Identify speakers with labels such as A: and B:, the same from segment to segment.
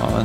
A: Ja,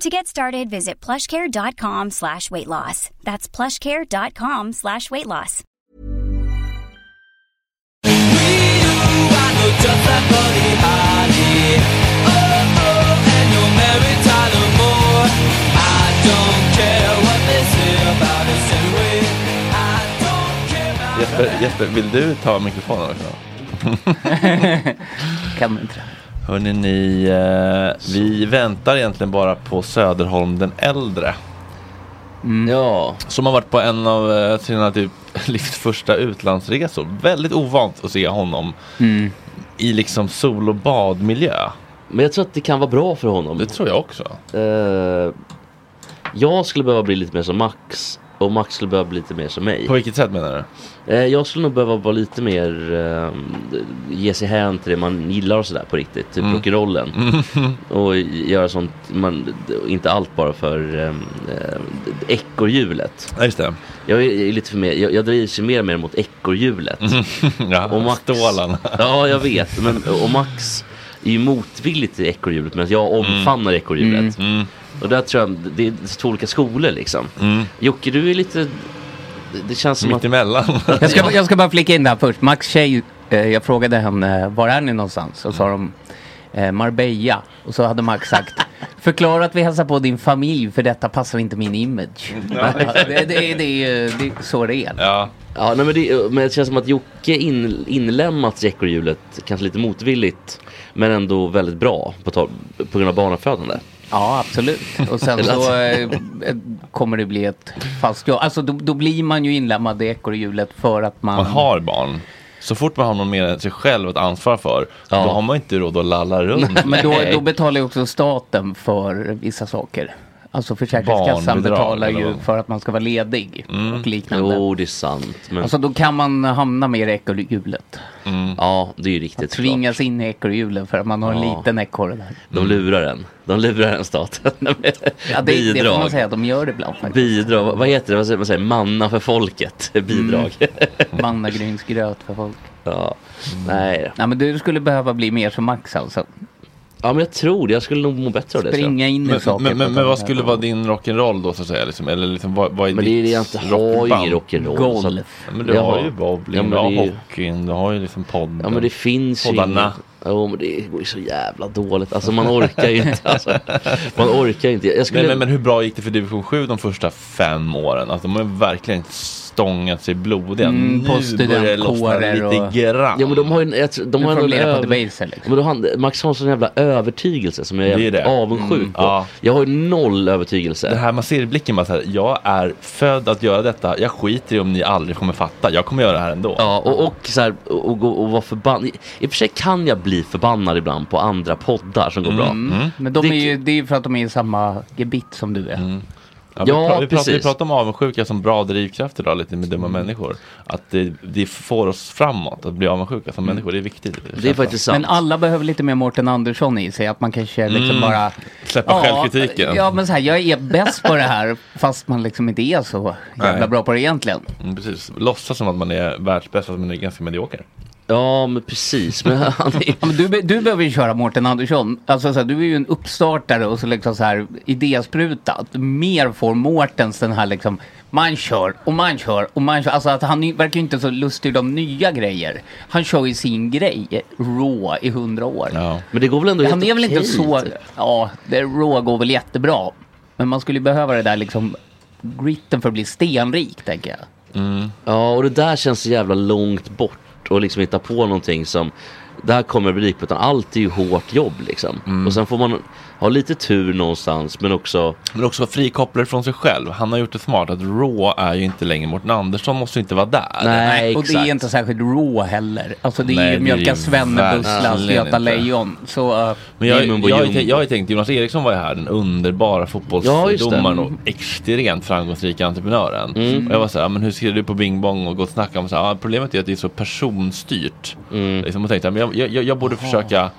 B: To get started, visit plushcare.com slash weight loss. That's plushcare.com slash weight loss.
A: Jesper, Jesper, vill du ta mikrofonen också?
C: Kan inte det.
A: Hörrni, ni, eh, vi väntar egentligen bara på Söderholm den äldre.
C: Ja.
A: Som har varit på en av eh, sina typ, livs första utlandsresor. Väldigt ovant att se honom
C: Mm.
A: i liksom sol och badmiljö.
C: Men jag tror att det kan vara bra för honom.
A: Det tror jag också.
C: Eh, jag skulle behöva bli lite mer som Max om Axel behöver bli lite mer som mig.
A: På vilket sätt menar du?
C: Eh, jag skulle nog behöva vara lite mer, eh, ge sig hän till det man gillar och sådär på riktigt. Typ
A: Mm.
C: rock'n'rollen. Och göra sånt, man, inte allt bara för eh, eh, ekorrhjulet.
A: Ja, just det.
C: Jag är, jag är lite för mer, jag, jag drivs ju mer och mer mot ekorrhjulet.
A: Ja,
C: Och Max.
A: Stålarna.
C: Ja, jag vet. Men, och Max är ju motvillig till ekorrhjulet medan jag omfamnar ekorrhjulet.
A: Mm.
C: Och där tror jag, det är två olika skolor liksom.
A: Mm.
C: Jocke, du är lite, det- det känns som att...
A: Mitt emellan.
D: Jag ska, jag ska bara flika in där först. Max tjej, eh, jag frågade henne var är ni någonstans? Och sa de eh, Marbella. Och så hade Max sagt Förklara att vi hälsar på din familj för detta passar inte min image. det, det, är- det är ju det är så det är.
A: Ja.
C: Ja, nej, men, det, men det känns som att Jocke in, inlämnats i ekorrhjulet, kanske lite motvilligt, men ändå väldigt bra på, tal- på grund av barnafödande.
D: Ja, absolut. Och sen så eh, eh, kommer det bli ett fast jobb. Alltså då, då blir man ju inlämnad i ekorrhjulet för att man...
A: man har barn. Så fort man har någon mer än sig själv att ansvara för,
C: Ja.
A: då har man inte råd att lalla runt.
D: Men då, då betalar ju också staten för vissa saker. Alltså Försäkringskassan
A: Barnbidrag
D: betalar
A: eller
D: ju
A: vad? Mm.
D: för att man ska vara ledig och liknande.
C: Jo, det är sant. Men
D: Alltså då kan man hamna mer i ekorrhjulet.
A: Mm.
C: ja, det är ju
D: Att
C: riktigt.
D: Tvingas in i ekorrhjulet för att man har en
C: Ja.
D: liten ekorre där.
C: De lurar en. De lurar en staten.
D: Ja, det, det får man säga att de gör ibland faktiskt.
C: Bidrag. Vad heter det? Vad säger man? Säger? Manna för folket.
D: Mm.
C: Bidrag.
D: Mannagrynsgröt för folk.
C: Ja.
D: Mm.
C: Nej.
D: Nej men du skulle behöva bli mer som Max alltså.
C: Ja, men jag tror det. Jag skulle nog må bättre av det. tror jag.
D: Springa in i
A: Men,
D: saker.
A: men, men,
D: på
A: men
D: sådana
A: vad
D: här
A: skulle vara din rock'n'roll då så att säga? Liksom? Eller liksom, vad, vad är
C: Men det är det jag inte har ju ingen rock'n'roll. så att-
D: Golf.
A: Men du
C: Jag
A: har
C: har-
A: ju
C: Ja,
A: bowling,
C: men
A: du har
C: det är ju-
A: hockeyn, du har ju liksom podden.
C: Ja men det finns ju
A: Poddarna.
C: inget- Jo men det går ju så jävla dåligt. Alltså man orkar ju inte. Alltså. Man orkar ju inte. Jag skulle...
A: men, men, men hur bra gick det för division 7 de första fem åren? Alltså, de har ju verkligen stångat sig blodiga.
D: Mm, på
A: nu börjar det lossna
D: studentkårer
A: lite
D: och-
A: grann.
C: Ja men de har ju, en- jag tror, de
D: Nu
C: har
D: får
C: ändå
D: de
C: en
D: leda på
C: över...
D: debaser liksom.
C: Men då har han, Max Hansson har en jävla övertygelse som jag är
A: Det är
C: jävligt
A: det. Mm,
C: avundsjuk på.
A: Ja.
C: Jag har ju noll övertygelse.
A: Det här man ser i blicken bara så här, jag är född att göra detta, jag skiter i om ni aldrig kommer fatta, jag kommer göra det här ändå.
C: Ja, och, och, så här, och, och, gå- och vara förbannad. I i och för sig kan jag bli förbannad ibland på andra poddar som går bra.
A: Mm.
D: Men de är
C: Det-
D: ju, det är ju för att de är i samma gebit som du är.
A: Ja, vi,
C: Ja,
A: pra- vi, pratar, vi
C: precis. Mm.
A: pratar om avundsjuka som bra drivkraft idag lite med dumma människor. Att det, det får oss framåt att bli avundsjuka som människor, det är viktigt.
C: Mm. Det är faktiskt
A: Liksom.
C: sant.
D: Men alla behöver lite mer Mårten Andersson i sig, att man kanske liksom bara...
A: Släppa Mm. självkritiken.
D: Ja, men så här, jag är bäst på det här, fast man liksom inte är så jävla
A: Nej.
D: bra på det egentligen.
A: Mm, precis. Låtsas som att man är världsbäst fast man är ganska medioker.
C: Ja men precis. Men han är...
D: Ja, men du, be- du behöver ju köra Mårten Andersson. Alltså, så här, du är ju en uppstartare och så liksom så här idéspruta. Att Mer får Mårtens den här liksom, man kör och man kör och man kör. Alltså att han ju- verkar ju inte så lustig om nya grejer. Han kör ju sin grej, raw, i hundra år.
A: Ja.
C: Men det går väl ändå
D: Han
C: helt
D: är väl inte
C: okej,
D: så...
C: typ.
D: Ja, det raw går väl jättebra. Men man skulle ju behöva det där liksom gritten för att bli stenrik, tänker jag.
C: Ja, och det där känns så jävla långt bort och liksom hitta på någonting som det här kommer bli på utan allt är ju hårt jobb liksom. Och sen får man ha lite tur någonstans men också
A: Men också frikopplad från sig själv. Han har gjort det smart att Raw är ju inte längre Mårten Andersson måste ju inte vara där.
C: Nej,
D: och det
C: exakt.
D: är inte särskilt raw heller. Alltså det är
A: Nej, det är
D: ju Mjölka
A: ju
D: Svenne, Busslas,
A: verkligen
D: Göta
A: inte.
D: Lejon. Så... eh,
A: Men jag, jag,
C: Jimbo
A: jag, har ju
C: Jumbo.
A: tänkt- jag har ju tänkt, Jonas Eriksson var ju här, den underbara
C: Ja, just det.
A: fotbollsdomaren och extremt framgångsrika entreprenören.
C: Mm.
A: Och jag var så här, men hur ser du på Bing Bong och Gott Snack? Och så här, ah, problemet är att det är så personstyrt.
C: Mm.
A: Liksom, och tänkte, men jag, jag, jag borde försöka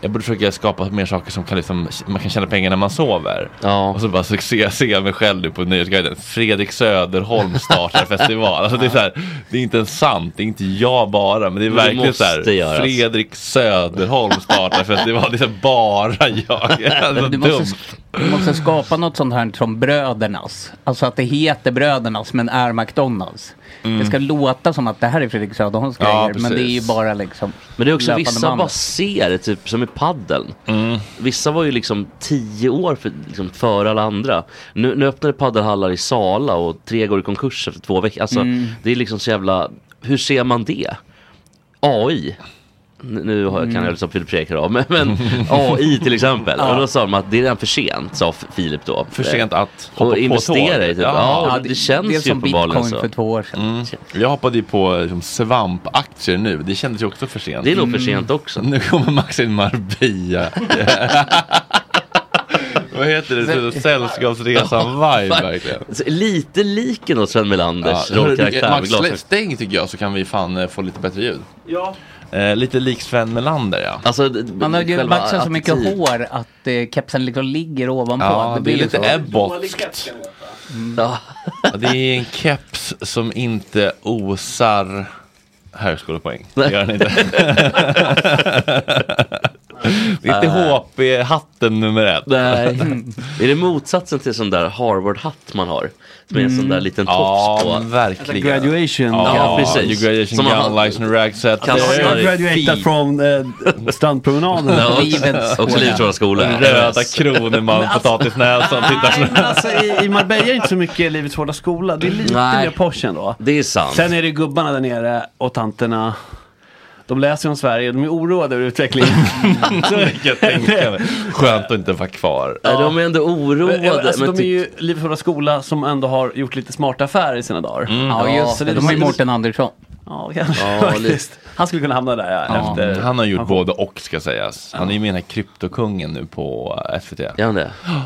A: jag borde försöka skapa mer saker som kan liksom, man kan tjäna pengar när man sover.
C: Ja.
A: Och så bara så ser jag, ser jag mig själv nu på Nöjesguiden. Fredrik Söderholm startar festival. Alltså det är så här, det är inte ens sant. Det är inte jag bara. Men det är
C: Men det
A: verkligen så
C: måste
A: här.
C: göras.
A: Fredrik Söderholm startar festival. Det är så här, bara jag. Alltså,
D: Du
A: dumt.
D: måste, du måste skapa något sånt här som Brödernas. Alltså att det heter Brödernas men är McDonalds. Det ska låta som att det här är Fredrik Söderholms
A: Mm. Ja,
D: grejer. Men
A: precis.
D: det är ju bara liksom
C: Men det är också
D: löpande Mm.
C: vissa
D: bandet.
C: bara ser det, typ som i paddeln. Vissa var ju liksom tio år för, liksom, före alla andra. Nu, nu öppnade paddelhallar i Sala och tre går i konkurs efter två veckor. Alltså,
D: Mm.
C: Det är liksom så jävla, hur ser man det? AI. N- Nu har,
D: Mm.
C: kan jag liksom Filip Fredrik höra av men, men AI till exempel. Och då sa de att det är redan för sent, sa F- Filip då. Eh,
A: För sent att hoppa
C: Och
A: på
C: investera i
A: tåget.
C: typ.
A: Ja.
C: Ja, det, känns
D: det är
C: ju
D: som
C: uppenbarligen
D: bitcoin
C: så.
D: för två år sedan.
A: Mm. Jag hoppade ju på liksom, svampaktier nu. Det kändes ju också för sent.
C: Det är nog för sent också.
A: Nu kommer Max in Marbella. Vad heter det? Så- Sällskapsresan-vibe verkligen.
C: Så Lite lik ändå Sven Melanders rollkaraktär.
A: Max,
C: med
A: slä-
C: glasögon.
A: stäng tycker jag så kan vi fan eh, få lite bättre ljud.
C: Ja.
A: Eh, lite lik Sven Melander ja.
C: Alltså, d- d-
D: Han har ju
C: själva
D: maxat så mycket
C: attityd.
D: hår att eh, kepsen liksom ligger ovanpå.
A: Ja, det,
D: blir
A: är
D: ju
A: lite
D: så.
A: ebbotskt.
C: Ja.
A: Ja, Det är en keps som inte osar högskolepoäng. Det gör den inte. det är inte HP-hatten nummer ett.
C: Nej.
D: Mm,
C: Är det motsatsen till sån där Harvard-hatt man har? Som är en sån där liten
A: Ja,
C: tofs på.
A: verkligen.
E: Graduation.
A: Ja,
C: Ja, precis.
A: precis. Graduation
C: Som
A: gown,
C: han-
A: license rag set.
C: Kan-
A: Det är
E: Jag graduated
A: fint.
E: från eh, strandpromenaden.
C: Ja,
D: Livets
C: också- Också
D: skola.
C: Livets Hårda skola.
A: Röda Kronemalm, potatisnäsan, tittar
E: Nej, men alltså i, i Marbella är det inte så mycket Livets Hårda Skola. Det är lite
C: Nej.
E: mer Porsche ändå.
C: Det är sant.
E: Sen är det gubbarna där nere och tanterna. De läser om Sverige, de är oroade över utvecklingen.
A: Jag tänker mig. Skönt att inte vara kvar.
C: Nej, De är ändå oroade.
E: alltså,
C: men
E: de är
C: typ-
E: ju Livets Hårda Skola som ändå har gjort lite smarta affärer i sina dagar.
D: Ja, just det. De har ju Mårten Andersson.
E: Ja, kanske.
C: Ja, lite.
E: faktiskt. Han skulle kunna hamna där ja,
D: Ja.
E: efter.
A: Han har gjort både och ska sägas. Han är ju med i den här kryptokungen nu på eh, SVT.
C: Gör han det? Ja,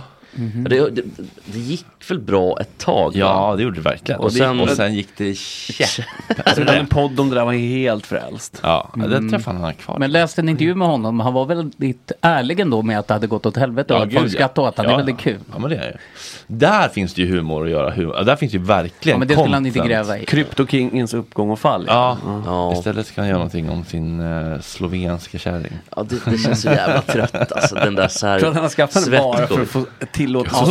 C: Det, det, det gick väl bra ett tag? va?
A: Ja, det gjorde det verkligen.
C: Och sen-
A: och sen gick det käpp.
E: Alltså, det där med en podd om det där var helt frälst.
A: Ja, den träffade han kvar.
D: Mm. Men läste en intervju med honom. Han var väldigt ärlig ändå med att det hade gått åt helvete och att folk skrattade åt honom. Det är väldigt kul.
A: Ja, men det är ju. Där finns det ju humor att göra. Humor. Ja, Där finns det ju verkligen
D: Ja, men det skulle han inte
A: content.
D: gräva i.
E: Kryptokingens uppgång och fall.
A: Ja,
C: Ja.
A: istället ska han göra någonting om sin eh, slovenska kärring.
C: Ja, det, det känns så jävla trött alltså. Den där så här
E: Jag tror att han har skaffat den bara för
C: svettgolv.
E: att få tillåtelse att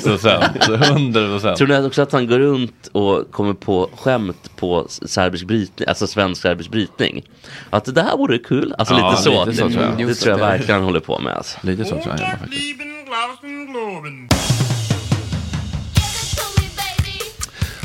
E: skoja.
A: Hundra procent, hundra procent.
C: Tror ni också att han går runt och kommer på skämt på s- serbisk brytning, alltså svensk serbisk brytning? Att det här vore kul, alltså
A: Ja,
C: lite så.
A: lite så
C: det,
A: tror jag.
C: det
A: Just
C: tror jag verkligen han håller på med alltså.
A: Lite så tror jag han gör faktiskt.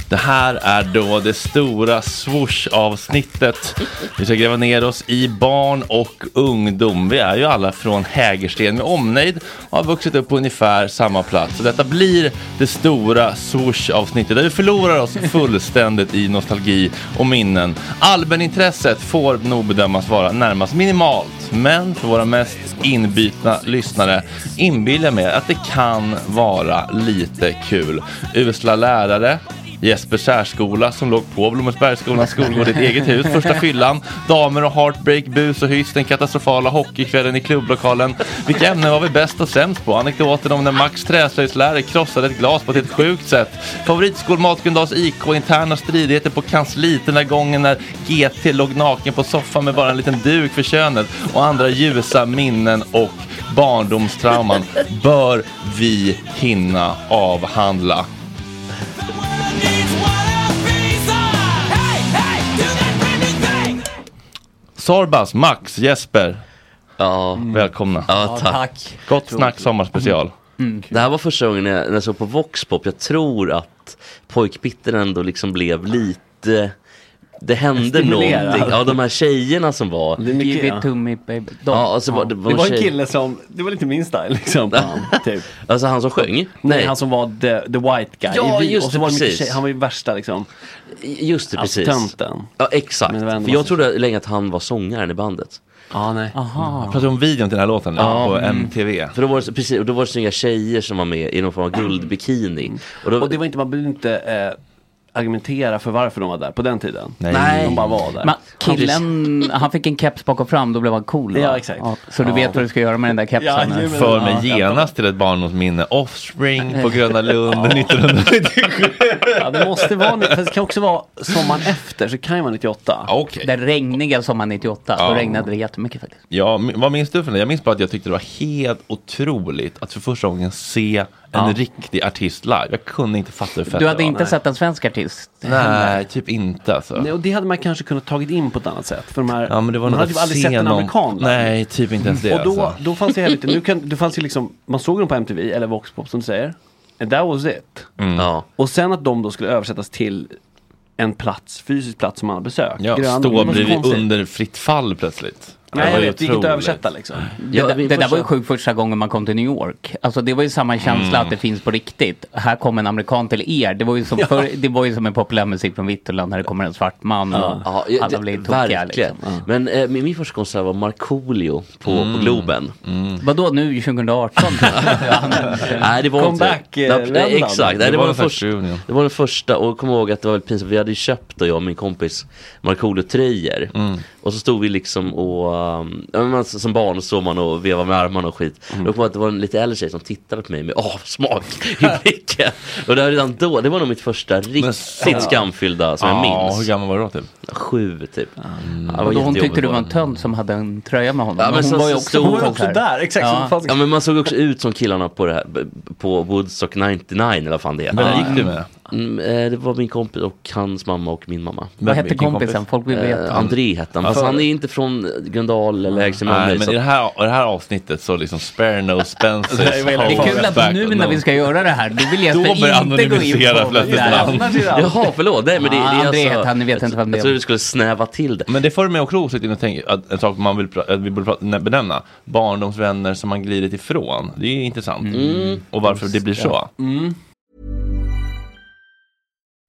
A: Det här är då det stora swoosh-avsnittet. Vi ska gräva ner oss i barn och ungdom. Vi är ju alla från Hägersten med omnejd och har vuxit upp på ungefär samma plats. Så detta blir det stora swoosh-avsnittet där vi förlorar oss fullständigt i nostalgi och minnen. Allmänintresset får nog bedömas vara närmast minimalt, men för våra mest inbitna lyssnare inbillar mig att det kan vara lite kul. Usla lärare, Jesper särskola som låg på Blommensbergsskolans skolgård i ett eget hus första fyllan. Damer och heartbreak, bus och hyss, den katastrofala hockeykvällen i klubblokalen. Vilka ämnen var vi bäst och sämst på? Anekdoten om när Max träslöjdslärare krossade ett glas på ett helt sjukt sätt. Favoritskolmat Mölndals IK, interna stridigheter på kansliet den där gången när GT låg naken på soffan med bara en liten duk för könet och andra ljusa minnen och barndomstrauman bör vi hinna avhandla. Sorbas, Max, Jesper,
C: Ja,
A: välkomna.
C: ja tack.
D: Tack.
A: Gott snack sommarspecial.
C: Det här var första gången jag, när jag såg på Voxpop. Jag tror att pojkbitten ändå liksom blev lite... Det hände
E: Stimulerad.
C: någonting. Ja, de här tjejerna som var.
E: Det är mycket,
D: Give
E: ja.
D: it to me baby. De.
C: Ja, alltså, var, det var,
E: Det var en
C: tjej-
E: kille som, det var lite min style liksom. typ.
C: Alltså han som sjöng?
E: Nej.
C: Nej,
E: Han som var the, the white guy.
C: Ja,
E: i Vi-
C: just
E: och så
C: det,
E: var det mycket
C: precis.
E: tjej- Han var ju värsta liksom.
C: just det,
E: Alltså
C: precis.
E: tönten.
C: Ja, exakt.
E: Men det var ändå
C: För jag
E: massa-
C: trodde länge att han var sångaren i bandet.
E: Ja, nej.
D: Aha.
A: Pratar om videon till den här låten nu på
E: Mm.
A: MTV.
C: För då var det, så- precis, och då var det snygga tjejer som var med i någon form av guldbikini. Och då,
E: Och det var inte, man behövde inte eh, argumentera för varför de var där på den tiden.
A: Nej.
E: De bara var där.
D: Men killen, han fick en keps bak och fram, då blev han cool va?
E: Ja, exakt.
D: så du vet vad du ska göra med den där
E: Ja,
D: kepsen? eh. nu?
E: jajamän.
A: För mig genast till ett barndomsminne. Offspring på Gröna Lund 1997.
E: ja, det måste vara, nu- fast det kan också vara sommaren efter, så kan ju vara 98.
A: Okej.
D: Den regniga sommaren 98,
A: Ja.
D: då regnade det jättemycket faktiskt.
A: Ja, men vad minns du från det? Jag minns bara att jag tyckte det var helt otroligt att för första gången se en riktig artist live. Jag kunde inte fatta hur fett
D: Du hade
A: det var.
D: inte sett en svensk artist?
A: Nej, typ inte alltså.
E: Nej, och det hade man kanske kunnat tagit in på ett annat sätt. För de här,
A: Ja, men det var
E: man
A: nog
E: hade ju
A: att
E: aldrig
A: se
E: sett en
A: någon-
E: amerikan där.
A: Nej, typ inte ens det
E: Och då,
A: alltså.
E: då fanns det heller inte, nu kan, det fanns ju liksom, man såg dem på MTV eller Voxpop som du säger. And that was it.
C: Mm. ja.
E: Och sen att de då skulle översättas till en plats, fysisk plats som man har besökt.
A: Ja,
E: Grön-
A: stå
E: det var så
A: bredvid
E: konstigt.
A: under fritt fall plötsligt.
E: Nej,
A: Det var
E: jag
A: ju
E: vet. Det gick inte att
A: otroligt.
E: översätta liksom.
D: Det, det där var ju sjukt första gången man kom till New York. Alltså det var ju samma känsla
A: Mm.
D: att det finns på riktigt. Här kom en amerikan till er. Det var ju som, förr, det var ju som en populärmusik från Vitterland när det kommer en svart man och
C: Ja, ja,
D: alla
C: det-
D: blir tokiga.
C: verkligen.
D: Liksom.
C: Men eh, min, min första konsert var Markoolio på, på Globen.
D: Vadå nu 2018?
C: Nej, Mm. det var
E: Comeback,
C: inte. det.
E: eh,
C: Nej,
E: vändan.
C: Exakt.
A: Det
C: Nej, det,
A: var
C: var
A: den
C: den första,
A: första juni, ja.
C: det var den första och jag kommer ihåg att det var väldigt pinsamt. Vi hade ju köpt, då, jag och min kompis, Markoolio-tröjor.
A: Mm.
C: Och så stod vi liksom och, um, ja, men man- som barn så stod man och vevade med armarna och skit.
A: Mm.
C: Och jag kommer ihåg att det var en lite äldre tjej som tittade på mig med avsmak i blicken. och det var redan då, det var nog mitt första riktigt skamfyllda som liksom. jag
A: Ja, hur
C: minns.
A: gammal var du då typ?
C: Sju typ. Ja, det var
D: Och då hon
C: jättejobbigt
D: tyckte du
C: bara.
D: var en tönt som hade en tröja med honom.
C: Ja, men
D: hon
C: så-
D: var ju
C: så
D: också
C: stod
E: Hon var ju
D: på
E: också
D: konsert.
E: där, exakt.
D: Ja.
E: som fan.
C: Ja men man såg också ut som killarna på det här, b- b- på Woodstock 99 eller vad fan det heter.
A: Vem gick du med?
C: Mm, eh, det var min kompis och hans mamma och min mamma.
D: Vad hette
A: Vilken
D: kompisen? Folk vill veta.
C: Eh, André hette han, fast
A: Alltså-
C: han är inte från Gröndal eller Häggström.
A: Nej, men i det här, i det här avsnittet så liksom spare no Spencers
E: Det är
D: Det är kul att nu när vi ska göra det här, då vill
A: Då
D: Jesper
A: börjar
D: inte gå in
A: anonymisera
D: på...
A: plötsligt
D: Nej.
A: namn.
E: Annars är det allt.
C: Jaha, förlåt. Nej, men det, det
D: Ja,
C: är
D: André
C: alltså,
D: hette han, ni vet inte vem det
C: Jag
D: är.
C: trodde vi skulle snäva till det.
A: Men det för mig också osökt in och tänka att en sak man vill, pra- att vi borde prata- benämna barndomsvänner som man glidit ifrån. Det är ju intressant. Och varför det blir så.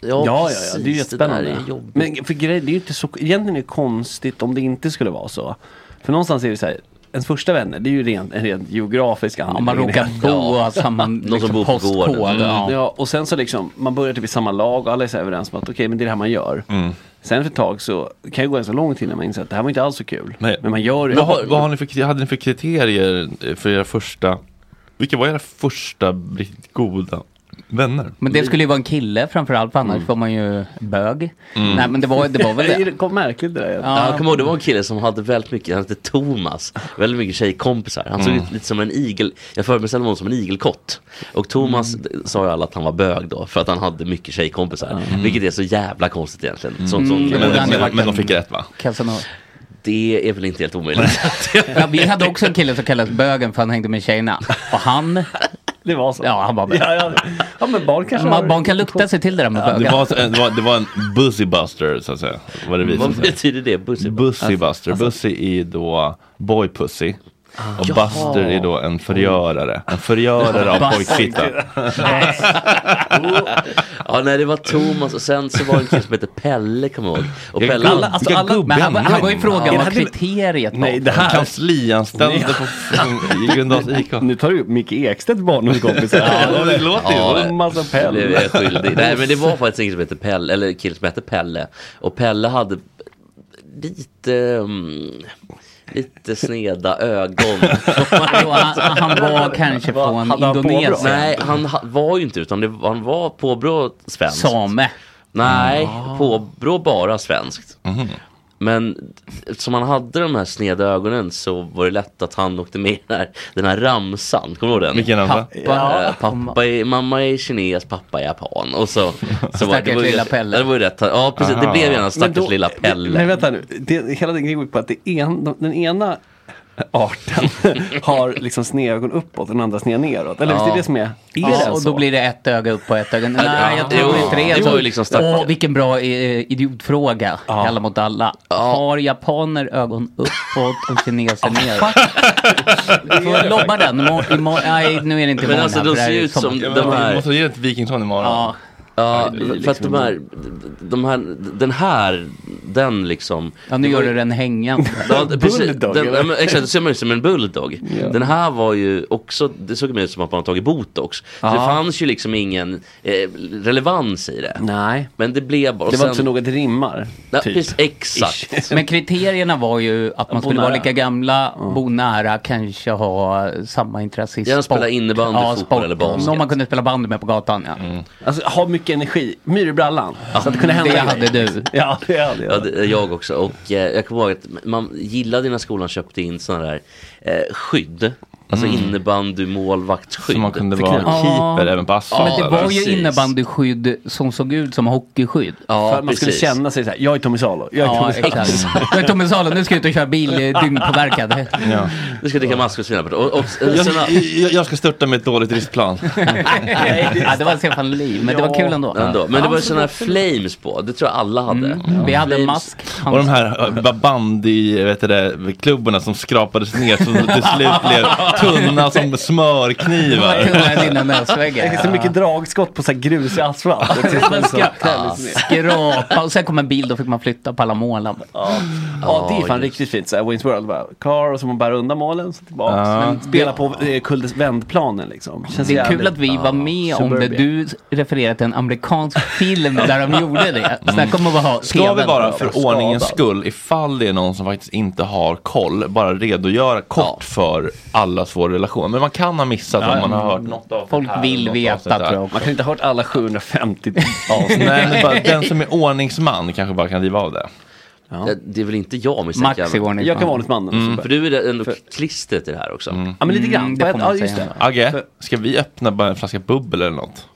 E: Ja, ja, ja, det är ju
C: precis, där
E: jättespännande.
C: är jobbigt.
E: Men för grejen, det är ju inte så, egentligen är det konstigt om det inte skulle vara så. För någonstans är det så här, ens första vänner, det är ju rent, en rent geografisk
D: Om man
E: anledning.
D: råkar bo och samma liksom,
C: bor på
D: postkod.
C: gården.
D: Ja.
E: Mm, Ja, och sen så liksom, man börjar typ i samma lag och alla är så här överens om att okej, men det är det här man gör. Sen för ett tag så kan det gå ganska lång tid innan man inser att det här var inte alls så kul.
A: Nej.
E: Men man gör det.
A: Vad, har- vad har ni för, kri- hade ni för kriterier eh, för era första, vilka var era första riktigt goda vänner?
D: Men det skulle ju vara en kille framförallt, för annars
E: Mm.
D: var man ju bög. Nej men det var, det var väl
E: det
D: det.
E: kom märkligt det där.
C: Ja, jag kommer ihåg, det var en kille som hade väldigt mycket, han hette Thomas, väldigt mycket tjejkompisar. Han såg
D: Mm.
C: ut lite som en igel, jag föreställde mig honom som en igelkott. Och Thomas
D: Mm.
C: d- sa ju alla att han var bög då, för att han hade mycket tjejkompisar. Vilket är så jävla konstigt egentligen. Sånt, sånt,
A: Men,
D: Mm. det hade
A: men,
D: varit
A: men,
D: en-
A: de fick rätt va?
D: Casanova.
C: Det är väl inte helt omöjligt.
D: Ja, vi hade också en kille som kallades bögen för han hängde med tjejerna. Och han,
E: Det var så.
D: ja han var bög.
E: ja, ja. ja men barn kanske har-
D: Man, barn kan lukta sig till det där med
A: Det
D: bögar.
A: var, det var, det var en busybuster så att säga. Var det vi som
C: Vad
A: säger.
C: betyder det? Bussi?
A: Bussybuster. Bussy är då boypussy. Och Buster är då en förgörare. En förgörare av
D: Buster.
A: pojkfitta.
C: Ja, nej, det var Thomas och sen så var det en kille som hette Pelle, kommer jag ihåg. Och
A: Jag
C: Pelle,
A: glömde-
C: alla,
E: alltså, alla-
D: Men han, var- han var ju frågan
E: Ja.
D: vad kriteriet var.
E: Nej, det här.
A: Kanslianställde på i Gröndals IK.
E: Nu tar du upp Micke Ekstedts barndomskompisar.
A: Ja, det låter ju.
C: Ja,
E: Och massa
C: Nu blev
E: Pelle.
C: jag skyldig. Nej men det var faktiskt en kille som hette Pelle, eller en kille som hette Pelle. Och Pelle hade lite, mm, lite sneda ögon.
D: Vadå, han, han var kanske från
E: hade han påbrå?
D: Indonesien.
C: Nej, han ha- var ju inte utan det, han var påbrå svenskt.
D: Same.
A: Ah. Mhm.
C: Nej, påbrå bara svenskt. Men som han hade de här sneda ögonen så var det lätt att han åkte med i den här, den här ramsan. Kommer du ihåg den?
A: Vilken ramsa?
C: Pappa,
A: Ja.
C: eh, pappa är, mamma är kines, pappa är japan. Och så, så var,
E: Stackars
C: var ju-
E: lilla Pelle.
C: Det var ju rätt. Ja, precis. Det
E: Aha.
C: blev gärna stackars
E: Men då-
C: lilla Pelle.
E: Men vänta nu, det, hela den grejen går ut på att det en, de- den ena arten har liksom snedögon uppåt och den andra sned neråt. Eller visst är det det som är?
D: Ja, och då blir det ett öga upp och ett öga ner.
E: Ja.
D: Nej, jag tror
E: Jo,
D: inte
E: det
D: det. är så.
E: var ju liksom starkt.
D: Åh, vilken bra eh, idiotfråga. Alla mot alla. Har japaner ögon uppåt och kineser neråt? Får lobba den? Imor- imor- nej, nu är det inte
C: Men
D: imorgon
C: alltså
D: här,
C: de
D: för det här
C: ser
D: är
C: ut som
D: sommar.
C: de här...
A: måste ge ett Vikington imorgon.
C: Ja,
A: Ja,
C: ja
A: det är
C: för att
A: liksom-
C: de här, de här, den här, den liksom.
D: Ja, nu gör du den hängande.
C: Ja, precis.
D: Bulldog,
C: Den,
D: eller?
C: ja, men, exakt, det ser man ut som en bulldog.
D: Ja.
C: Den här var ju också, det såg mer ut som att man hade tagit botox. Så
E: Ja.
C: det fanns ju liksom ingen eh, relevans i det.
E: Nej.
C: Men det blev bara...
E: Det var inte så något rimmar.
C: Nej,
E: typ.
C: precis, exakt.
D: Men kriterierna var ju att man
C: Bo
D: skulle vara
C: nära.
D: lika gamla, bo nära, kanske ha samma intresse i
C: Gärna
D: sport.
C: spela innebandy, fotboll eller basket.
D: Någon man kunde spela bandy med på gatan, ja.
E: Alltså ha mycket energi, myr i brallan. Så att det kunde hända
D: Det
E: grejer.
D: hade du.
E: Ja, det hade jag.
C: Ja, det, jag också. Och eh, jag kommer ihåg att man gillade när skolan köpte in sådana där eh, skydd. Alltså
A: Mm.
C: innebandy målvaktsskydd.
A: Så man kunde vara keeper även på asfalt.
D: Men det var
C: precis.
D: ju innebandyskydd som såg ut som hockeyskydd.
E: För att man skulle känna sig såhär, jag är Tommy Salo. Jag är
D: Ja,
E: Tommy Salo.
D: exakt. Jag är Tommy Salo, nu ska jag ut och köra bil eh, dyngpåverkad.
A: Ja.
C: Du ska dricka maskrosvin. Och, och,
A: Jag,
C: sen-
A: jag, jag ska störta med ett dåligt risplan.
D: ja, det var Stefan Liv, men det var kul ändå.
C: ändå. Men det var ju sådana här flames på. Det tror jag alla hade.
D: Mm. Vi hade
C: Flames.
D: mask.
A: Och de här eh, ba- bandy, vet du det, klubborna som skrapades ner så till slut blev tunna som smörknivar.
D: Det var tunnare än innan näsväggen.
E: Det är så mycket dragskott på så här grus i asfalt. Det är
D: Man
E: så-
D: ska skrapa och sen kom en bil, då fick man flytta på alla målen.
E: Ja, det är fan riktigt fint. Så här, Wayne's World, bara, car och så man bär undan målen, så tillbaka.
D: Ja.
E: Men spela på eh, kuldes vändplanen liksom. Känns
D: Det är
E: jävligt-
D: kul att vi var med om det.
E: Suburbia.
D: Du refererar till en amerikansk film där de gjorde det. Snacka om att ha
A: Ska vi
D: TV:n.
A: bara för ordningens skull, ifall det är någon som faktiskt inte har koll, bara redogöra kort för allas vår relation. Men man kan ha missat om man har hört något av
D: Folk
A: det här,
D: vill
A: något
D: veta
A: avsnitt där.
D: tror jag också.
E: Man kan inte ha hört alla 750 avsnitt.
A: Nej, men bara, den som är ordningsman kanske bara kan riva av det.
C: Det, det är väl inte jag
E: Max
C: misstänker.
E: är ordningsman. Jag kan vara ordningsmannen,
C: Mm.
E: Sofie.
C: För du är ändå klistret i det här också.
E: Ja, men lite grann. Mm, det På får ett- man ja, just säga.
A: Agge, ska vi öppna bara en flaska bubbel eller något?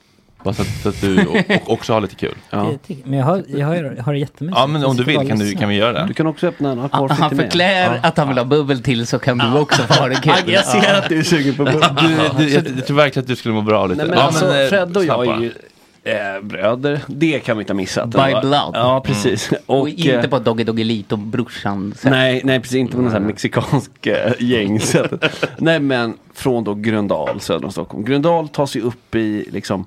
A: Bara så att, så att du o- och också har lite kul. Ja,
F: Men jag har, jag har, jag har det jättemysigt.
A: men om du vill kan, du, kan vi göra det.
E: Du kan också öppna en alkoholfri
D: Han förklär att han vill ha bubbel till så kan du också få ha det kul.
E: Jag ser att du är sugen på bubbel.
A: Du, du, jag, jag tror verkligen att du skulle må bra av lite.
E: Nej, men
A: Ja,
E: alltså,
A: men, eh,
E: Fred och jag
A: snabbt
E: är ju eh, bröder. Det kan vi inte ha missat.
D: By blood.
E: Ja, precis.
D: Och,
E: eh,
D: inte på Doggy Doggy Lito, brorsan. Så-
E: Nej, nej, precis. Inte på något sånt här mexikansk eh, gäng. så att- nej, men från då Gröndal söder om Stockholm. Gröndal tas ju upp i liksom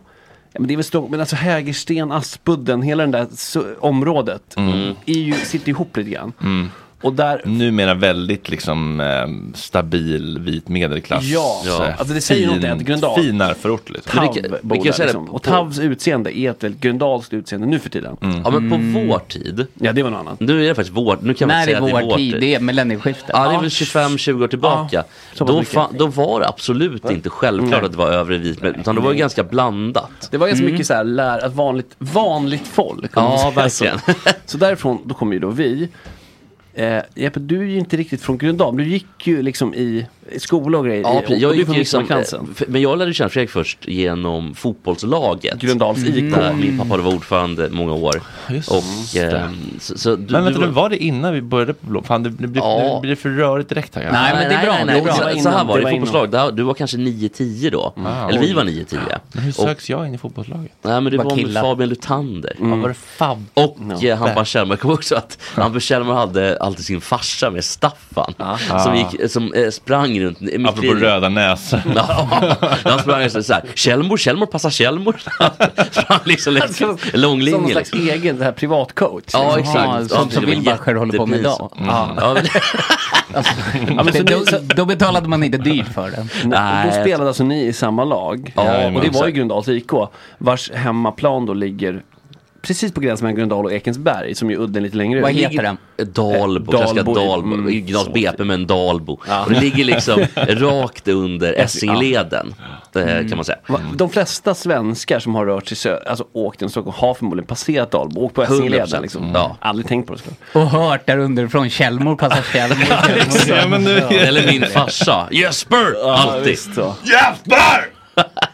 E: Ja, men det är väl Stockholm, men alltså Hägersten, Aspudden, hela det där så- området
A: Mm.
E: är ju, sitter ihop lite grann.
A: Mm.
E: Och där...
A: Numera väldigt liksom eh, stabil vit medelklass.
E: Ja,
A: eh,
E: alltså det säger någonting att Gröndal-
A: Finare förort liksom.
E: Tav bor där, liksom. Och Tavs utseende är ett väldigt Gröndals utseende nu för tiden.
A: Mm.
C: Ja men på vår tid.
E: Ja det var något annat.
C: Nu är det faktiskt vår, nu kan man
D: När
C: säga
D: är
C: att det är
D: vår
C: vår
D: tid? Det är millennieskiftet.
C: Ja, det är väl 25-20 år tillbaka.
D: Så pass
C: Då,
D: mycket.
C: fa- då var det absolut inte självklart
D: Nej.
C: att det var övre vit, men- utan det var ju ganska blandat.
E: Det var ganska mycket så här, lär, att vanligt, vanligt folk. om
C: Ja,
E: man säger
C: verkligen.
E: Så. så därifrån, då kommer ju då vi. Eh, Jeppe, du är ju inte riktigt från Gröndal. Du gick ju liksom i, i skola och grejer.
C: Ja,
E: i,
C: precis. jag
E: och du är
C: gick
E: från
C: ju liksom,
E: Midsommarkransen.
C: eh, f- men jag lärde känna Fredrik först genom fotbollslaget.
E: Gröndals IK.
C: Där min pappa var ordförande många år. och,
A: det.
C: eh, så, så du,
A: men vänta
C: du
A: nu, var det innan vi började på blå? Fan, det blir,
C: Ja.
A: nu blir det för rörigt direkt här. kanske.
C: Nej, men det är bra.
A: det är bra.
C: Så, så här var det,
A: var
C: i
A: innan.
C: fotbollslag. Där- Du var kanske 9-10 då.
A: Ah,
C: Eller vi
A: oj.
C: var 9-10.
A: Men hur
C: Och-
A: söks jag in i fotbollslaget?
C: Nej men det
A: Bara
C: var med
A: killar.
C: Fabian Lutander.
A: Ja, var det Fab?
C: Och
A: No.
C: eh, Hampus Kjellman. Jag kommer också att Hampus Kjellman hade alltid sin farsa med Staffan. Som, gick, som eh, sprang runt. mitt
A: Apropå
C: i-
A: röda näsor.
C: Ja, han sprang så här, Kjellmor, Kjellmor, passa Kjellmor. Sprang liksom längs
E: Som- Som någon
C: långlinjen.
E: slags
C: Liksom.
E: egen så här, privatcoach.
C: Ja
E: liksom.
C: exakt.
D: Ja, som-
C: Ja,
D: som
C: det var
D: Wilbacher håller på med idag.
C: jättepinsamt. Ja, men-
E: Ja, men så
D: Det-
E: ni- så-
D: då, då betalade man inte dyrt för den.
E: Nej. Då spelade alltså ni i samma lag.
C: Ja,
E: och det var ju
C: exakt.
E: Gröndals IK. Vars hemmaplan då ligger precis på gränsen mellan Gröndal och Ekensberg, som ju udden är lite längre
C: Vad
E: ut.
C: heter den? Eh, Dalbo, klassiska Dalbo. Gnas BP men Dalbo. Och det ligger liksom rakt under Essingeleden, det kan man säga.
E: Va- De flesta svenskar som har rört sig söder, alltså åkt genom Stockholm har förmodligen passerat Dalbo, åkt på
C: 100%,
E: Essingeleden liksom.
C: ja.
E: Aldrig tänkt på det såklart.
D: Och hört där underifrån, Kjellmor passar Kjellmor.
E: Ja, men nu-
C: Eller min farsa, Jesper! Alltid!
E: visst, ja.
C: Jesper!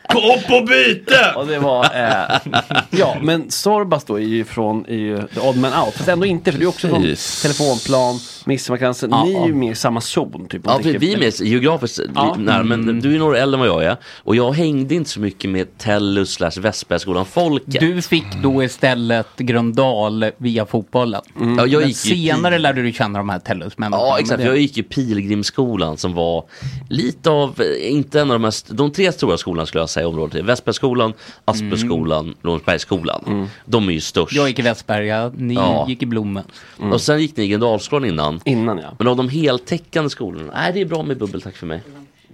C: Kom på byte!
E: Ja, det var, eh, ja, men Sorbas då är ju från är ju The Odd Man Out, fast ändå inte, för det är också från
A: Precis.
E: Telefonplan, Midsommarkransen, ni är ju mer i samma zon typ. om
C: Ja,
E: man
C: vi,
E: tänker-
C: vi är mer geografiskt
E: Ja.
C: nära,
D: Mm.
C: men du är några äldre än vad jag är. Och jag hängde inte så mycket med Tellus slash Västbergsskolan-folket.
D: Du fick då istället Gröndal via fotbollen.
C: Mm. Ja, jag
D: Men
C: gick ju i-
D: senare lärde du känna de här Tellus-människorna.
C: Ja,
D: men
C: exakt.
D: det-
C: Jag gick i Pilgrimsskolan som var lite av, eh, inte en av de mest, de tre stora skolorna skulle jag säga i området. Västbergsskolan, Asperskolan, Lorensbergsskolan. De är ju störst.
D: Mm. Jag gick i Västberga, ni
C: Ja.
D: gick i Blommen.
C: Och sen gick ni i Gröndalsskolan innan.
D: Mm.
E: Innan ja.
C: Men av de heltäckande skolorna, nej det är bra med bubbel tack för mig.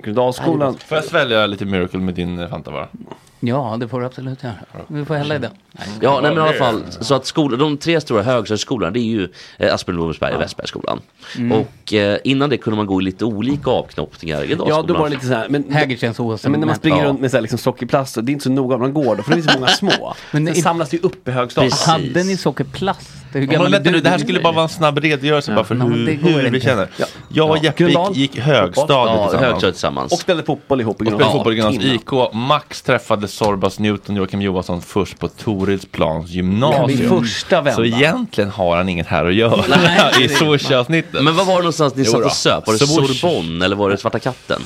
E: Gröndalsskolan,
A: Får jag svälja lite Miracle med din eh, Fanta bara?
D: Ja, det får du absolut göra. Vi får hälla i den.
C: Ja, nej, men i alla fall, så att skolor, de tre stora högstadieskolorna det är ju eh, Aspen, Lorensberg och Västbergsskolan. Och eh, innan det kunde man gå i lite olika avknoppningar i
E: ja
C: Gröndalsskolan.
E: då var det lite såhär, men,
D: Hägerstensåsen.
E: men när man springer
C: Ja.
E: runt med så här, liksom, sockerplast, det är inte så noga om man går då, för det finns så många små.
D: Men
E: men Sen
D: i-
E: samlas det ju upp i högstadiet.
C: Precis.
D: Hade ni sockerplast? Hur
A: Ja, men
D: gammal är
A: vänta nu,
D: du?
A: det här skulle bara vara en snabb redogörelse bara för
D: Ja, men
A: hur,
D: det går
A: hur vi
D: inte.
A: känner. Jag och Jeppe
E: Gröndal.
A: gick, gick högstadiet
C: ja,
A: tillsammans.
C: högstadiet tillsammans.
E: Och spelade fotboll ihop i
A: Och spelade
E: Gröndal.
A: fotboll i Gröndals
E: Timmen.
A: IK. Max träffade Sorbas Newton Joakim Johansson först på Torilsplans
E: Min
A: gymnasium.
E: första vän.
A: Så egentligen har han inget här att göra i Swish-avsnittet.
C: Men vad var det någonstans ni
A: Jo
C: satt
A: då.
C: och söp? Var det
A: Swoosh.
C: Sorbonne eller var det Svarta katten?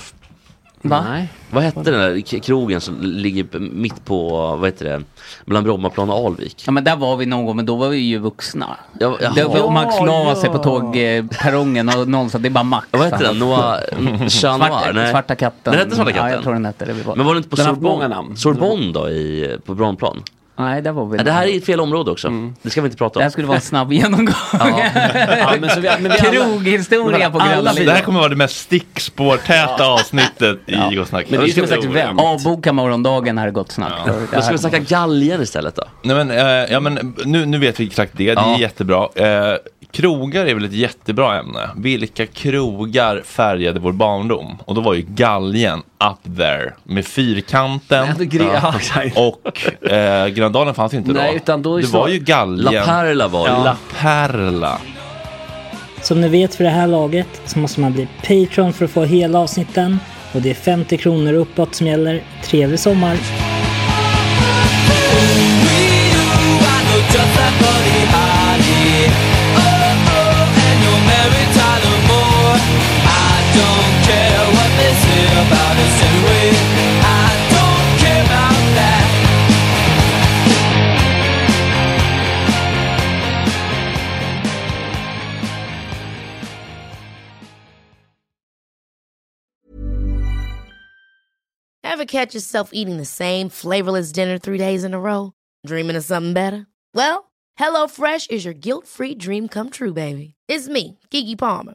D: Va?
C: Vad hette den där k- krogen som ligger p- mitt på, vad heter det, mellan Brommaplan och Alvik?
D: Ja men där var vi någon gång, men då var vi ju vuxna.
C: Ja, jaha.
D: det var, och Max la
E: Ja,
D: sig på
E: ja.
D: tågperrongen och någon sa det är bara Max.
C: Vad hette den? Noa Chat Noir?
D: Svarta,
C: Nej.
D: svarta katten.
C: Den hette Svarta katten?
D: Ja, jag tror den hette det. Vi var.
C: Men var det inte på
E: Den har haft många
C: Sorbonne?
E: namn.
C: Sorbonne då i, på Brommaplan?
D: Nej, där var vi.
C: Nej, det här är fel område också. Det ska vi inte
D: Mm.
C: prata
D: det här
C: om.
D: skulle vara en snabb genomgång.
E: Ja, men så vi, men vi alla,
D: Kroghistoria på
E: alla
D: Gröna
E: vi-
A: Det här kommer vara det mest stickspårtäta avsnittet i Gå och snacka.
E: men det är ju som en slags vän.
D: Avboka morgondagen här är gott snack. Det här-
C: Då ska vi snacka galgen istället då.
A: Nej, men, eh, ja, men nu, nu vet vi exakt det, det är
C: Ja.
A: jättebra. Eh, krogar är väl ett jättebra ämne. Vilka krogar färgade vår barndom? Och då var ju galgen up there med fyrkanten.
E: Ja, det gre- ja, exakt.
A: Och eh, Gröndalen fanns ju inte
E: Nej,
A: då.
E: utan då är
A: det
E: så-
A: var ju
C: La
A: galgen.
C: Perla var det.
A: Ja. La Perla.
F: Som ni vet för det här laget så måste man bli Patreon för att få hela avsnitten. Och det är 50 kronor uppåt som gäller. Trevlig sommar!
G: Ever catch yourself eating the same flavorless dinner three days in a row? Dreaming of something better? Well, HelloFresh is your guilt free dream come true, baby. It's me, Gigi Palmer.